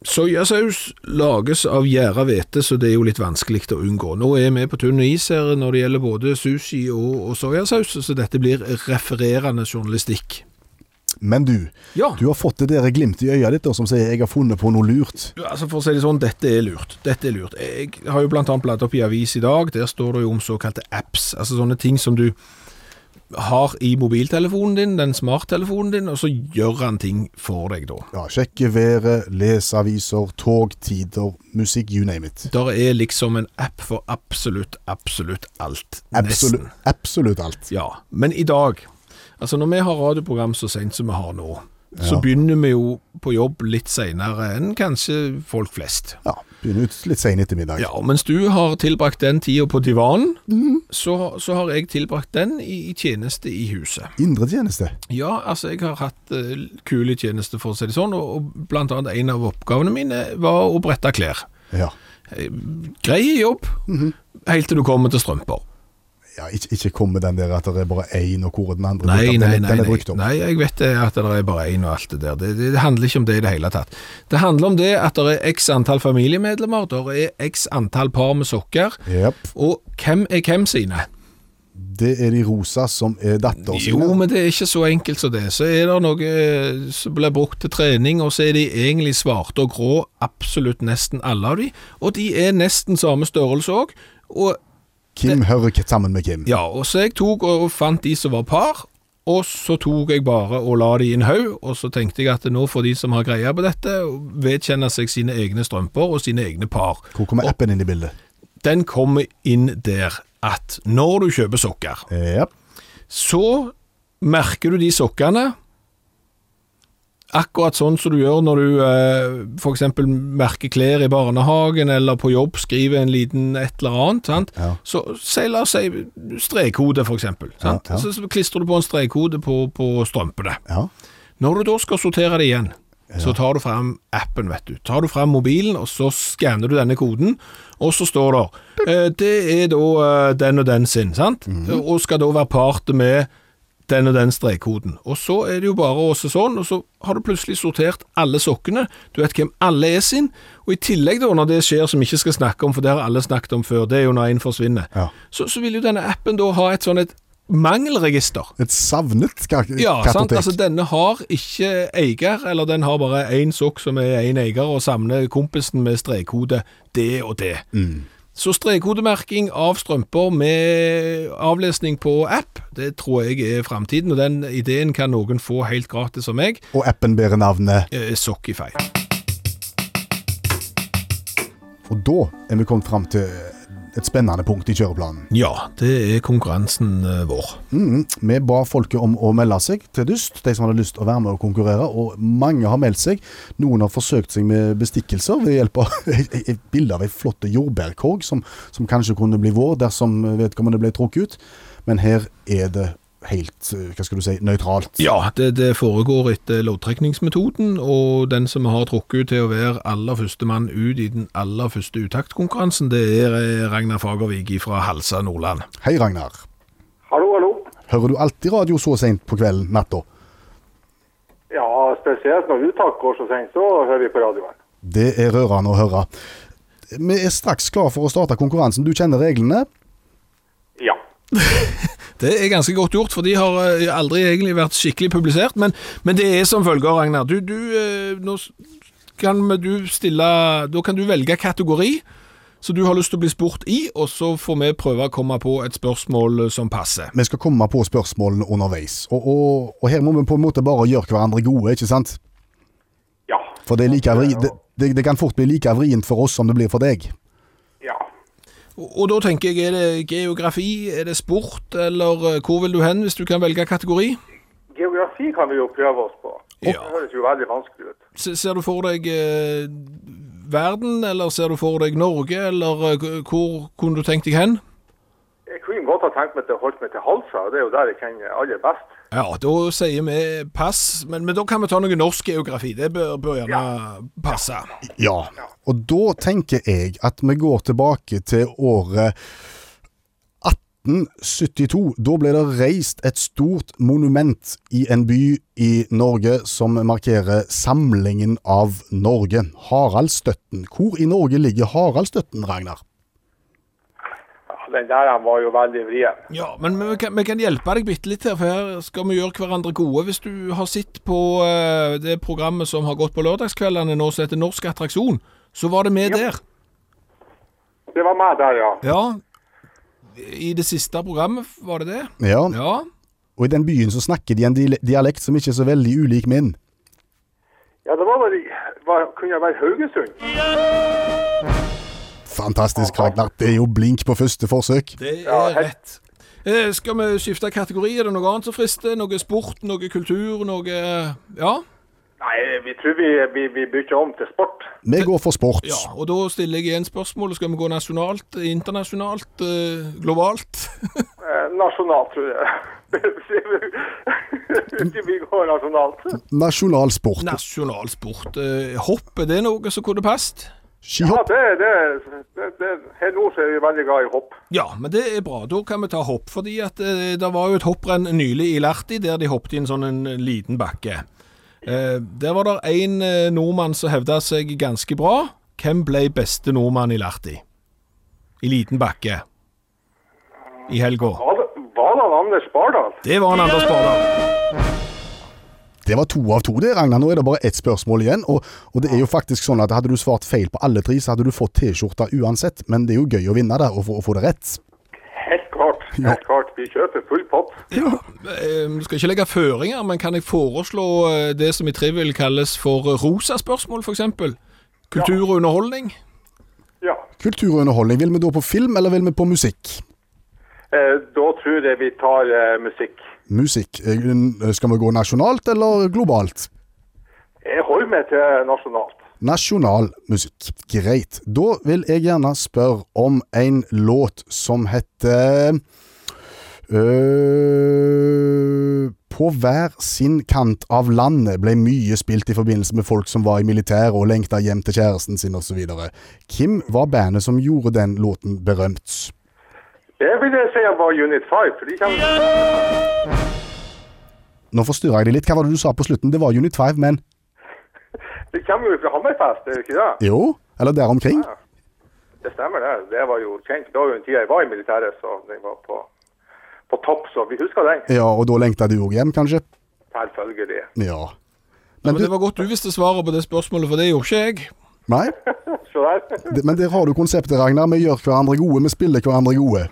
[SPEAKER 3] Soyasaus lages av gjæra hvete, så det er jo litt vanskelig å unngå. Nå er vi på tynn is her når det gjelder både sushi og, og soyasaus, så dette blir refererende journalistikk.
[SPEAKER 2] Men du,
[SPEAKER 3] Ja.
[SPEAKER 2] du har fått det der glimtet i øyet ditt da, som sier 'jeg har funnet på noe lurt'.
[SPEAKER 3] Ja, Altså For å si det sånn, dette er lurt. Dette er lurt. Jeg har jo blant annet bladd opp i avis i dag. Der står det jo om såkalte apps. Altså sånne ting som du har i mobiltelefonen din, den smarttelefonen din, og så gjør han ting for deg, da.
[SPEAKER 2] Ja, Sjekke været, lese aviser, togtider, musikk, you name it.
[SPEAKER 3] Der er liksom en app for absolutt, absolutt alt.
[SPEAKER 2] Absolutt,
[SPEAKER 3] Nesten.
[SPEAKER 2] absolutt alt.
[SPEAKER 3] Ja. Men i dag, altså når vi har radioprogram så sent som vi har nå, så begynner vi jo på jobb litt seinere enn kanskje folk flest.
[SPEAKER 2] Ja, Begynner ut litt sen ettermiddag.
[SPEAKER 3] Ja, og mens du har tilbrakt den tida på divanen, så, så har jeg tilbrakt den i, i tjeneste i huset.
[SPEAKER 2] Indretjeneste.
[SPEAKER 3] Ja, altså jeg har hatt eh, kule tjenester, for å si det sånn, og, og blant annet en av oppgavene mine var å brette klær.
[SPEAKER 2] Ja.
[SPEAKER 3] Grei jobb, helt til du kommer til strømper.
[SPEAKER 2] ja ikke, ikke kom med den der at det er bare én, og hvor er den andre
[SPEAKER 3] Nei,
[SPEAKER 2] brukt opp. Den er-
[SPEAKER 3] nei, nei,
[SPEAKER 2] Den er
[SPEAKER 3] nei,
[SPEAKER 2] brukt opp.
[SPEAKER 3] nei, jeg vet det at det er bare én og alt det der. Det, det, det handler ikke om det i det hele tatt. Det handler om det at det er x antall familiemedlemmer, det er x antall par med sokker,
[SPEAKER 2] Jep.
[SPEAKER 3] og hvem er hvem sine?
[SPEAKER 2] Det er de rosa som er datter sine.
[SPEAKER 3] Jo, men det er ikke så enkelt som det. Så er det noe eh, som blir brukt til trening, og så er de egentlig svarte og grå, absolutt nesten alle av de. Og de er nesten samme størrelse òg. Og,
[SPEAKER 2] Kim hører ikke sammen med Kim.
[SPEAKER 3] ja, og så jeg tok og fant de som var par, Og så tok jeg bare og la de i en haug, og så tenkte jeg at nå får de som har greie på dette, vedkjenne seg sine egne strømper og sine egne par.
[SPEAKER 2] Hvor kommer appen inn i bildet?
[SPEAKER 3] Den kommer inn der at når du kjøper sokker, så merker du de sokkene akkurat sånn som du gjør når du eh, f.eks. merker klær i barnehagen eller på jobb, skriver en liten et eller annet. Sant? Så si, la oss si strekkode, f.eks. sant?
[SPEAKER 2] ja.
[SPEAKER 3] Så, så klistrer du på en strekkode på, på strømpene. Når du da skal sortere det igjen, så tar du frem appen, vet du. Tar du frem mobilen, og så skanner du denne koden, og så står det eh, Det er da eh, den og den sin, sant? Eh, Og skal da være part med den og den strekkoden. Og så er det jo bare å se sånn, og så har du plutselig sortert alle sokkene. Du vet hvem alle er sin. Og i tillegg, da, når det skjer som vi ikke skal snakke om, for det har alle snakket om før, det er jo når en forsvinner, så, så vil jo denne appen da ha et sånn et mangelregister.
[SPEAKER 2] Et savnet ka-
[SPEAKER 3] Ja, sant?
[SPEAKER 2] kartotek?
[SPEAKER 3] altså denne har ikke eier, eller den har bare én sokk som er én eier, og samler kompisen med strekkode det og det.
[SPEAKER 2] Mm.
[SPEAKER 3] Så strekkodemerking av strømper med avlesning på app, det tror jeg er framtiden, og den ideen kan noen få helt gratis av meg.
[SPEAKER 2] Og appen bærer navnet
[SPEAKER 3] Eh, Sockify.
[SPEAKER 2] Og da er vi kommet fram til et spennende punkt i kjøreplanen.
[SPEAKER 3] Ja, det er konkurransen eh, vår.
[SPEAKER 2] Mm, vi ba folket om å melde seg til dyst, de som hadde lyst til å være med og konkurrere, og mange har meldt seg. Noen har forsøkt seg med bestikkelser ved hjelp av et bilde av ei flott jordbærkorg som, som kanskje kunne bli vår dersom vedkommende ble trukket ut. Men her er det helt eh, hva skal du si, nøytralt.
[SPEAKER 3] Ja, det, det foregår etter loddtrekningsmetoden, og den som har trukket ut til å være aller første mann ut i den aller første uttaktkonkurransen, det er eh, Ragnar Fagervik fra Halsa Nordland.
[SPEAKER 2] Hei, Ragnar.
[SPEAKER 12] Hallo, hallo.
[SPEAKER 2] Hører du alltid radio så seint på kvelden, natta?
[SPEAKER 12] Ja, spesielt når uttak går så sent, så hører vi på radioen.
[SPEAKER 2] Det er rørende å høre. Vi er straks klar for å starte konkurransen. Du kjenner reglene.
[SPEAKER 12] Ja.
[SPEAKER 3] Det er ganske godt gjort, for de har eh, aldri egentlig vært skikkelig publisert, men, men det er som følger, Ragnar. Du, du, eh, nå s- kan vi- du stille, da kan du velge kategori som du har lyst til å bli spurt i, og så får vi prøve å komme på et spørsmål eh, som passer.
[SPEAKER 2] Vi skal komme på spørsmålene underveis. Og, og, og her må vi på en måte bare gjøre hverandre gode, ikke sant?
[SPEAKER 12] Ja.
[SPEAKER 2] For det, er like vri, det, det, det kan fort bli like vrient for oss som det blir for deg.
[SPEAKER 3] Og, og da tenker jeg, er det geografi, er det sport, eller eh, hvor vil du hen hvis du kan velge kategori?
[SPEAKER 12] Geografi kan vi jo prøve oss på. Det høres jo veldig vanskelig ut.
[SPEAKER 3] Se- Ser du for deg eh, verden, eller ser du for deg Norge, eller eh, hvor kunne du tenkt deg hen?
[SPEAKER 12] Jeg kunne godt ha tenkt meg til å holde meg til Halsa, og det er jo der jeg kjenner aller best.
[SPEAKER 3] Ja, da sier vi pass, men, men da kan vi ta noe norsk geografi. Det bør, bør gjerne passe.
[SPEAKER 2] Ja. Og da tenker jeg at vi går tilbake til året 1872. Da ble det reist et stort monument i en by i Norge som markerer samlingen av Norge. Haraldstøtten. Hvor i Norge ligger Haraldstøtten, Ragnar?
[SPEAKER 12] Ja, den der han var jo veldig vrien.
[SPEAKER 3] Ja, men vi kan, vi kan hjelpe deg bitte litt her, for her skal vi gjøre hverandre gode. Hvis du har sett på eh, det programmet som har gått på lørdagskveldene nå, som heter Norsk attraksjon, så var det med der.
[SPEAKER 12] Det var meg der, ja.
[SPEAKER 3] Ja. I det siste programmet, var det det?
[SPEAKER 2] Ja.
[SPEAKER 3] ja.
[SPEAKER 2] Og i den byen så snakker de en dial- dialekt som ikke er så veldig ulik min.
[SPEAKER 12] Ja, det var vel var, Kunne jeg være Haugesund?
[SPEAKER 2] Fantastisk, Ragnar. Det er jo blink på første forsøk.
[SPEAKER 3] Det er rett. Eh, skal vi skifte kategori? Er det noe annet som frister? Noe sport, noe kultur, noe Ja?
[SPEAKER 12] Nei, vi tror vi, vi, vi bytter om til sport.
[SPEAKER 2] Vi går for sport.
[SPEAKER 3] Ja, og da stiller jeg igjen spørsmålet. Skal vi gå nasjonalt, internasjonalt, eh, globalt?
[SPEAKER 12] Eh, nasjonalt, tror jeg. vi går nasjonalt.
[SPEAKER 2] Nasjonalsport.
[SPEAKER 3] Nasjonalsport. Eh, hopp, er det noe som kunne passet?
[SPEAKER 12] Ja, det, det, det, det, her nord så er vi veldig glad i hopp.
[SPEAKER 3] Ja, men det er bra. Da kan vi ta hopp. fordi at eh, det var jo et hopprenn nylig i Lerti, der de hoppet i en sånn en liten bakke. Eh, der var det én eh, nordmann som hevda seg ganske bra. Hvem ble beste nordmann i Lerti? I liten bakke. I helga.
[SPEAKER 12] Var det- Var det han Anders Bardal?
[SPEAKER 3] Det var han Anders Bardal.
[SPEAKER 2] Det var to av to, det, Ragnar. Nå er det bare ett spørsmål igjen. Og, og det er jo faktisk sånn at hadde du svart feil på alle tre, så hadde du fått T-skjorta uansett. Men det er jo gøy å vinne det, og få, og få det rett.
[SPEAKER 12] Helt klart. Helt klart. Vi kjøper full pott.
[SPEAKER 3] Ja, eh, skal ikke legge føringer, men kan jeg foreslå eh, det som i trivial kalles for eh, rosaspørsmål, f.eks.? Kultur og underholdning?
[SPEAKER 2] Kultur og underholdning. Vil vi da på film, eller vil vi på musikk?
[SPEAKER 12] Eh, da tror jeg vi tar eh, musikk.
[SPEAKER 2] Musikk. Eh, n- Skal vi gå nasjonalt eller globalt?
[SPEAKER 12] Jeg holder meg til nasjonalt.
[SPEAKER 2] Nasjonal musikk. Greit. Da vil jeg gjerne spørre om en låt som heter øh, På hver sin kant av landet ble mye spilt i forbindelse med folk som var i militæret og lengta hjem til kjæresten sin osv. Hvem var bandet som gjorde den låten berømt?
[SPEAKER 12] Det vil jeg si var Unit 5, for de kommer
[SPEAKER 2] Nå forstyrra jeg deg litt. Hva var det du sa på slutten? Det var Unit 5, men
[SPEAKER 12] De kommer jo fra Hammerfest, er det ikke det?
[SPEAKER 2] Jo? Eller der omkring?
[SPEAKER 12] Det stemmer det. Det var jo kjent. Det var jo en tid jeg var i militæret, så den var på, på topp, så vi husker den.
[SPEAKER 2] Ja, og da lengta du òg hjem, kanskje?
[SPEAKER 12] Selvfølgelig.
[SPEAKER 2] Ja.
[SPEAKER 3] Men Det var godt du visste svaret på det spørsmålet, for det gjorde ikke jeg.
[SPEAKER 2] Nei?
[SPEAKER 12] Se der.
[SPEAKER 2] Det- Men der har du konseptet, Ragnar. Vi gjør hverandre gode, vi spiller hverandre gode.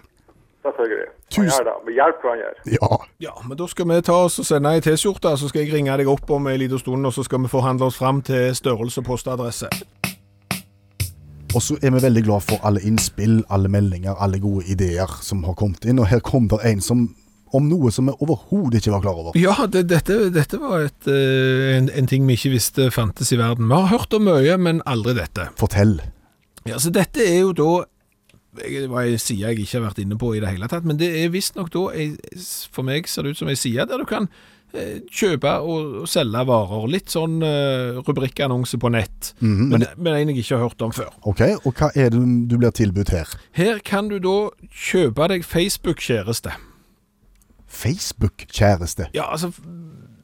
[SPEAKER 12] Selvfølgelig.
[SPEAKER 2] Tusen-
[SPEAKER 12] Ja, da. Vi hjelper hverandre.
[SPEAKER 2] Ja.
[SPEAKER 3] Ja, men da skal vi ta oss og sende ei T-skjorte, så skal jeg ringe deg opp om en liten stund, og så skal vi forhandle oss fram til størrelse og postadresse.
[SPEAKER 2] Og så er vi veldig glad for alle innspill, alle meldinger, alle gode ideer som har kommet inn. Og her kom det en som, om noe som vi overhodet ikke var klar over.
[SPEAKER 3] Ja, det, dette, dette var et, eh, en, en ting vi ikke visste fantes i verden. Vi har hørt om mye, men aldri dette.
[SPEAKER 2] Fortell.
[SPEAKER 3] Ja, så dette er jo da jeg- det var en side jeg ikke har vært inne på i det hele tatt, men det er visstnok da ei- For meg ser det ut som ei side der du kan eh, kjøpe og og selge varer. Litt sånn eh, rubrikkannonse på nett,
[SPEAKER 2] Mhm, men
[SPEAKER 3] men,
[SPEAKER 2] det-
[SPEAKER 3] men en jeg ikke har hørt om før.
[SPEAKER 2] Ok, og hva er det du blir tilbudt her?
[SPEAKER 3] Her kan du da kjøpe deg Facebook-kjæreste.
[SPEAKER 2] Facebook-kjæreste.
[SPEAKER 3] Ja, altså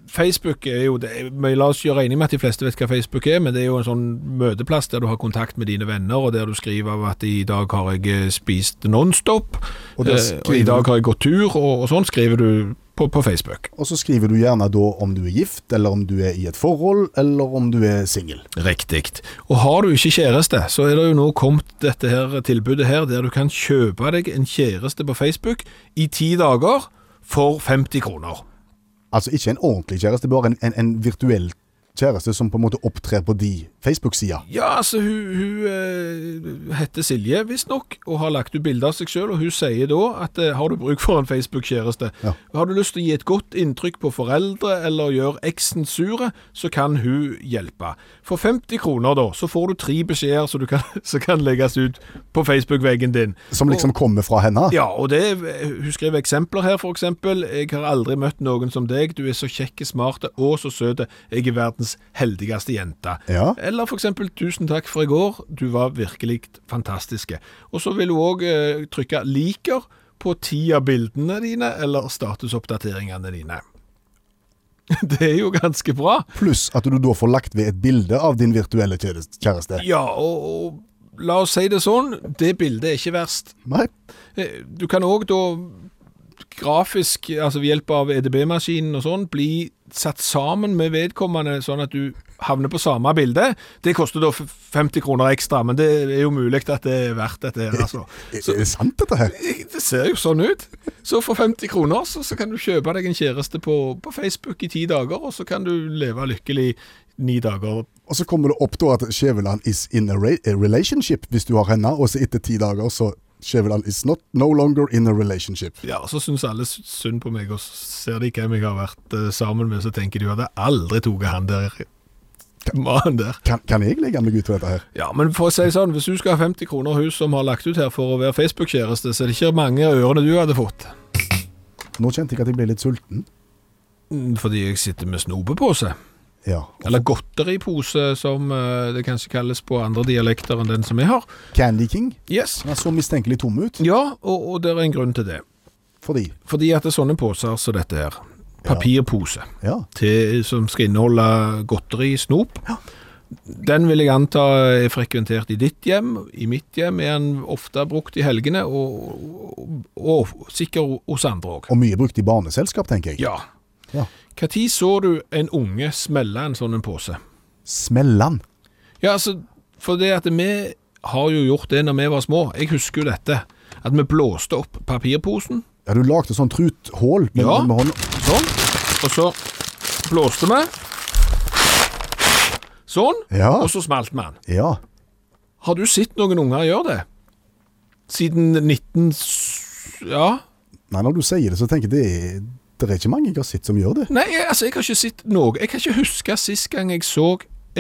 [SPEAKER 3] Facebook er jo det men La oss gjøre enig med at de fleste vet hva Facebook er, men det er jo en sånn møteplass der du har kontakt med dine venner, og der du skriver av at i dag har jeg eh, spist Nonstop, eh,
[SPEAKER 2] Og
[SPEAKER 3] og,
[SPEAKER 2] der
[SPEAKER 3] og i
[SPEAKER 2] skriver
[SPEAKER 3] dag
[SPEAKER 2] du-
[SPEAKER 3] har jeg gått tur, og, og sånn skriver du på, på Facebook.
[SPEAKER 2] Og så skriver du gjerne da om du er gift, eller om du er i et forhold, eller om du er singel.
[SPEAKER 3] Riktig. Og har du ikke kjæreste, så er det jo nå kommet dette her tilbudet her, der du kan kjøpe deg en kjæreste på Facebook i ti dager for 50 kroner.
[SPEAKER 2] Altså ikke en ordentlig kjæreste, bare en, en, en virtuell kjæreste som på en måte opptrer på de Facebook-sida.
[SPEAKER 3] Ja, altså, hun, hun eh, heter Silje, visstnok, og har lagt ut bilder av seg selv, og hun sier da at eh, har du bruk for en Facebook-kjæreste, har du lyst til å gi et godt inntrykk på foreldre, eller gjøre eksen sure, så kan hun hjelpe. For 50 kroner da, så får du tre beskjeder som du kan, som kan legges ut på Facebook-veggen din.
[SPEAKER 2] Som liksom kommer fra henne.
[SPEAKER 3] Ja, og det, er- hun skriver eksempler her, for eksempel. Jeg har aldri møtt noen som deg. Du er så kjekke, smarte og så søte. Jeg er verdens heldigste jente.
[SPEAKER 2] Ja.
[SPEAKER 3] Eller for eksempel, tusen takk for i går. Du var virkelig fantastiske. Og så vil hun også eh, trykke liker på ti av bildene dine, eller statusoppdateringene dine. Det er jo ganske bra.
[SPEAKER 2] Pluss at du da får lagt ved et bilde av din virtuelle kjæreste. kjæreste.
[SPEAKER 3] Ja, og, og la oss si det sånn, det bildet er ikke verst.
[SPEAKER 2] Nei.
[SPEAKER 3] Eh, Du kan òg da grafisk, altså ved hjelp av EDB-maskinen og sånn, bli satt sammen med vedkommende, sånn at du havner på samme bilde. Det koster da f- 50 kroner ekstra, men det er jo mulig at det er verdt dette her, altså.
[SPEAKER 2] Er det sant, dette her?
[SPEAKER 3] Det ser jo sånn ut. Så for 50 kroner så, så kan du kjøpe deg en kjæreste på, på Facebook i ti dager, og så kan du leve lykkelig ni dager
[SPEAKER 2] Og så kommer det opp da at Skjæveland is in a re- a relationship hvis du har henne, og så etter ti dager så Skjæveland is not no longer in a relationship.
[SPEAKER 3] Ja, så syns alle s- synd på meg, og så ser de hvem jeg har vært eh, sammen med, så tenker de jo at jeg aldri tok han der eh, mannen der.
[SPEAKER 2] Kan, kan jeg legge meg ut på dette her?
[SPEAKER 3] Ja, men for å si det sånn, hvis du skal ha 50 kroner hus som har lagt ut her for å være Facebook-kjæreste, så er det ikke mange av ørene du hadde fått.
[SPEAKER 2] Nå kjente jeg at jeg ble litt sulten.
[SPEAKER 3] Mm, Fordi jeg sitter med snopepose.
[SPEAKER 2] Ja.
[SPEAKER 3] Eller godteripose, som eh, det kanskje kalles på andre dialekter enn den som jeg har.
[SPEAKER 2] Candy King?
[SPEAKER 3] Yes.
[SPEAKER 2] Den er så mistenkelig tom ut.
[SPEAKER 3] Ja, og, og det er en grunn til det.
[SPEAKER 2] Fordi?
[SPEAKER 3] Fordi at det er sånne poser som dette her. Papirpose.
[SPEAKER 2] Ja.
[SPEAKER 3] til, som skal inneholde godteri, snop. Den vil jeg anta er frekventert i ditt hjem. I mitt hjem er den ofte brukt i helgene, og, og, og sikkert hos andre òg.
[SPEAKER 2] Og mye brukt i barneselskap, tenker jeg.
[SPEAKER 3] Ja.
[SPEAKER 2] Ja.
[SPEAKER 3] Når så du en unge smelle en sånn en pose?
[SPEAKER 2] Smellan.
[SPEAKER 3] Ja, altså, for det at vi har jo gjort det når vi var små. Jeg husker jo dette. At vi blåste opp papirposen,
[SPEAKER 2] Ja, du lagde sånn truthull med,
[SPEAKER 3] Ja.
[SPEAKER 2] med hånda.
[SPEAKER 3] Sånn. Og så blåste vi. Sånn.
[SPEAKER 2] Ja.
[SPEAKER 3] Og så smalt vi den.
[SPEAKER 2] Ja.
[SPEAKER 3] Har du sett noen unger gjøre det? Siden 19... s- Ja.
[SPEAKER 2] Nei, når du sier det, så tenker jeg det er, det er ikke mange jeg har sett som gjør det.
[SPEAKER 3] Nei, jeg, altså, jeg har ikke sett noe. Jeg kan ikke huske sist gang jeg så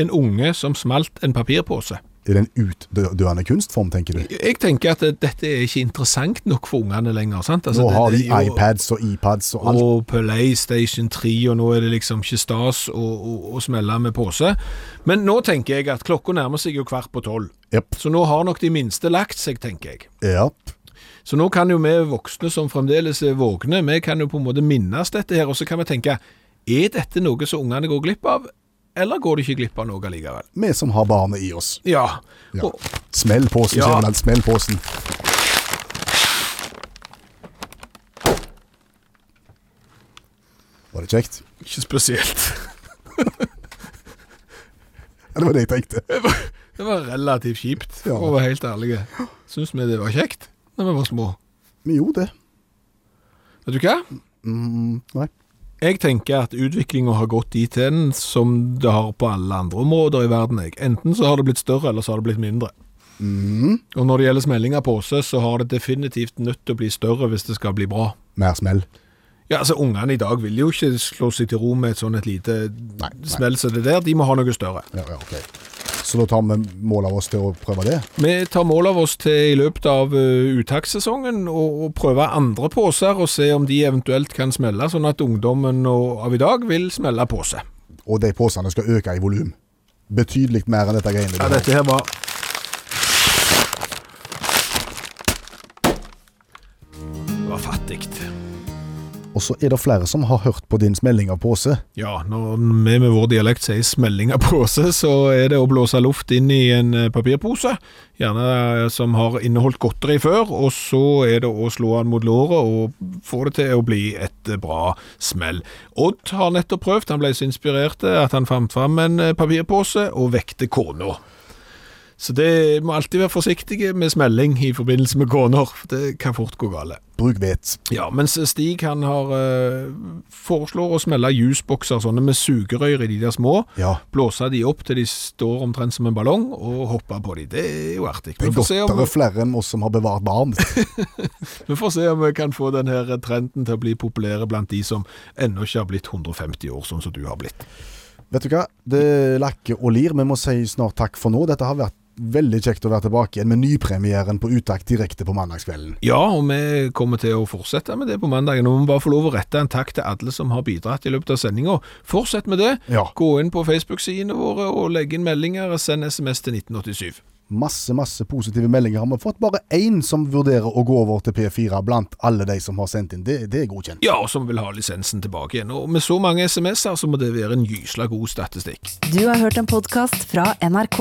[SPEAKER 3] en unge som smalt en papirpose.
[SPEAKER 2] Er det en utdøende kunstform, tenker du?
[SPEAKER 3] Jeg tenker at eh, dette er ikke interessant nok for ungene lenger. sant? Altså,
[SPEAKER 2] Nå
[SPEAKER 3] det-
[SPEAKER 2] har de
[SPEAKER 3] det er jo-
[SPEAKER 2] iPads og iPads og alt.
[SPEAKER 3] og PlayStation 3, og nå er det liksom ikke stas å, å, å smelle med pose. Men nå tenker jeg at klokka nærmer seg jo kvart på tolv. Så nå har nok de minste lagt seg, tenker jeg.
[SPEAKER 2] Ja.
[SPEAKER 3] Så nå kan jo vi voksne som fremdeles er vågne, vi kan jo på en måte minnes dette her, og så kan vi tenke, er dette noe som ungene går glipp av, eller går de ikke glipp av noe likevel?
[SPEAKER 2] Vi som har barnet i oss.
[SPEAKER 3] Ja.
[SPEAKER 2] Ja.
[SPEAKER 3] Og,
[SPEAKER 2] Smell posen,
[SPEAKER 3] Ja.
[SPEAKER 2] Skjæveland. Smell posen. Var det kjekt?
[SPEAKER 3] ikke spesielt.
[SPEAKER 2] Ja, Det var det jeg tenkte.
[SPEAKER 3] Det var relativt kjipt,
[SPEAKER 2] Ja.
[SPEAKER 3] for å være helt ærlig. Syns vi det var kjekt da vi var små?
[SPEAKER 2] Vi gjorde det.
[SPEAKER 3] Vet du hva?
[SPEAKER 2] Mm, nei.
[SPEAKER 3] Jeg tenker at utviklinga har gått dit hen som det har på alle andre områder i verden. Jeg. Enten så har det blitt større, eller så har det blitt mindre.
[SPEAKER 2] Mhm.
[SPEAKER 3] Og når det gjelder smelling av pose, så har det definitivt nødt til å bli større hvis det skal bli bra.
[SPEAKER 2] Mer smell.
[SPEAKER 3] Ja, altså Ungene i dag vil jo ikke slå seg til ro med et sånn et lite smell som det der. De må ha noe større.
[SPEAKER 2] Ja, ja, ok. Så da tar vi mål av oss til å prøve det.
[SPEAKER 3] Vi tar mål av oss til i løpet av eh, uttakssesongen og, og prøve andre poser og se om de eventuelt kan smelle, sånn at ungdommen og, av i dag vil smelle pose.
[SPEAKER 2] Og de posene skal øke i volum. Betydelig mer enn dette greiene.
[SPEAKER 3] Ja, dette her var Det var fattig.
[SPEAKER 2] Og så er det flere som har hørt på din smelling av pose.
[SPEAKER 3] Ja, når vi med vår dialekt sier smelling av pose, så er det å blåse luft inn i en eh, papirpose, gjerne eh, som har inneholdt godteri før, og så er det å slå den mot låret og få det til å bli et eh, bra smell. Odd har nettopp prøvd, han ble så inspirert eh, at han fant fram en eh, papirpose og vekte kona. Så det må alltid være forsiktige med smelling i forbindelse med koner, for det kan fort gå gale.
[SPEAKER 2] Bruk vet.
[SPEAKER 3] Ja, mens Stig han har eh, foreslår å smelle jusbokser sånne med sugerøyr i de der små.
[SPEAKER 2] Ja.
[SPEAKER 3] Blåse de opp til de står omtrent som en ballong, og hoppe på de. Det er jo artig.
[SPEAKER 2] Det
[SPEAKER 3] Vi
[SPEAKER 2] er
[SPEAKER 3] får, se om,
[SPEAKER 2] godtere flere enn oss som har bevart barn.
[SPEAKER 3] vi får se om vi kan få den her eh, trenden til å bli populære blant de som ennå ikke har blitt 150 år, sånn som du har blitt.
[SPEAKER 2] Vet du hva? Det lakker og lir. Vi må si snart takk for nå. Dette har vært veldig kjekt å være tilbake igjen med nypremieren på Utakt direkte på mandagskvelden.
[SPEAKER 3] Ja, og vi kommer til å fortsette med det på mandagen. Og vi må bare få lov å rette en takk til alle som har bidratt i løpet av sendinga. Fortsett med det.
[SPEAKER 2] Ja.
[SPEAKER 3] Gå inn på Facebook-sidene våre og legg inn meldinger. og Send SMS til 1987.
[SPEAKER 2] Masse, masse positive meldinger har vi fått. Bare én som vurderer å gå over til P4 blant alle de som har sendt inn. Det, det er godkjent.
[SPEAKER 3] Ja, og som vil ha lisensen tilbake igjen. Og med så mange SMS-er så må det være en gysla god statistikk.
[SPEAKER 13] Du har hørt en podkast fra NRK.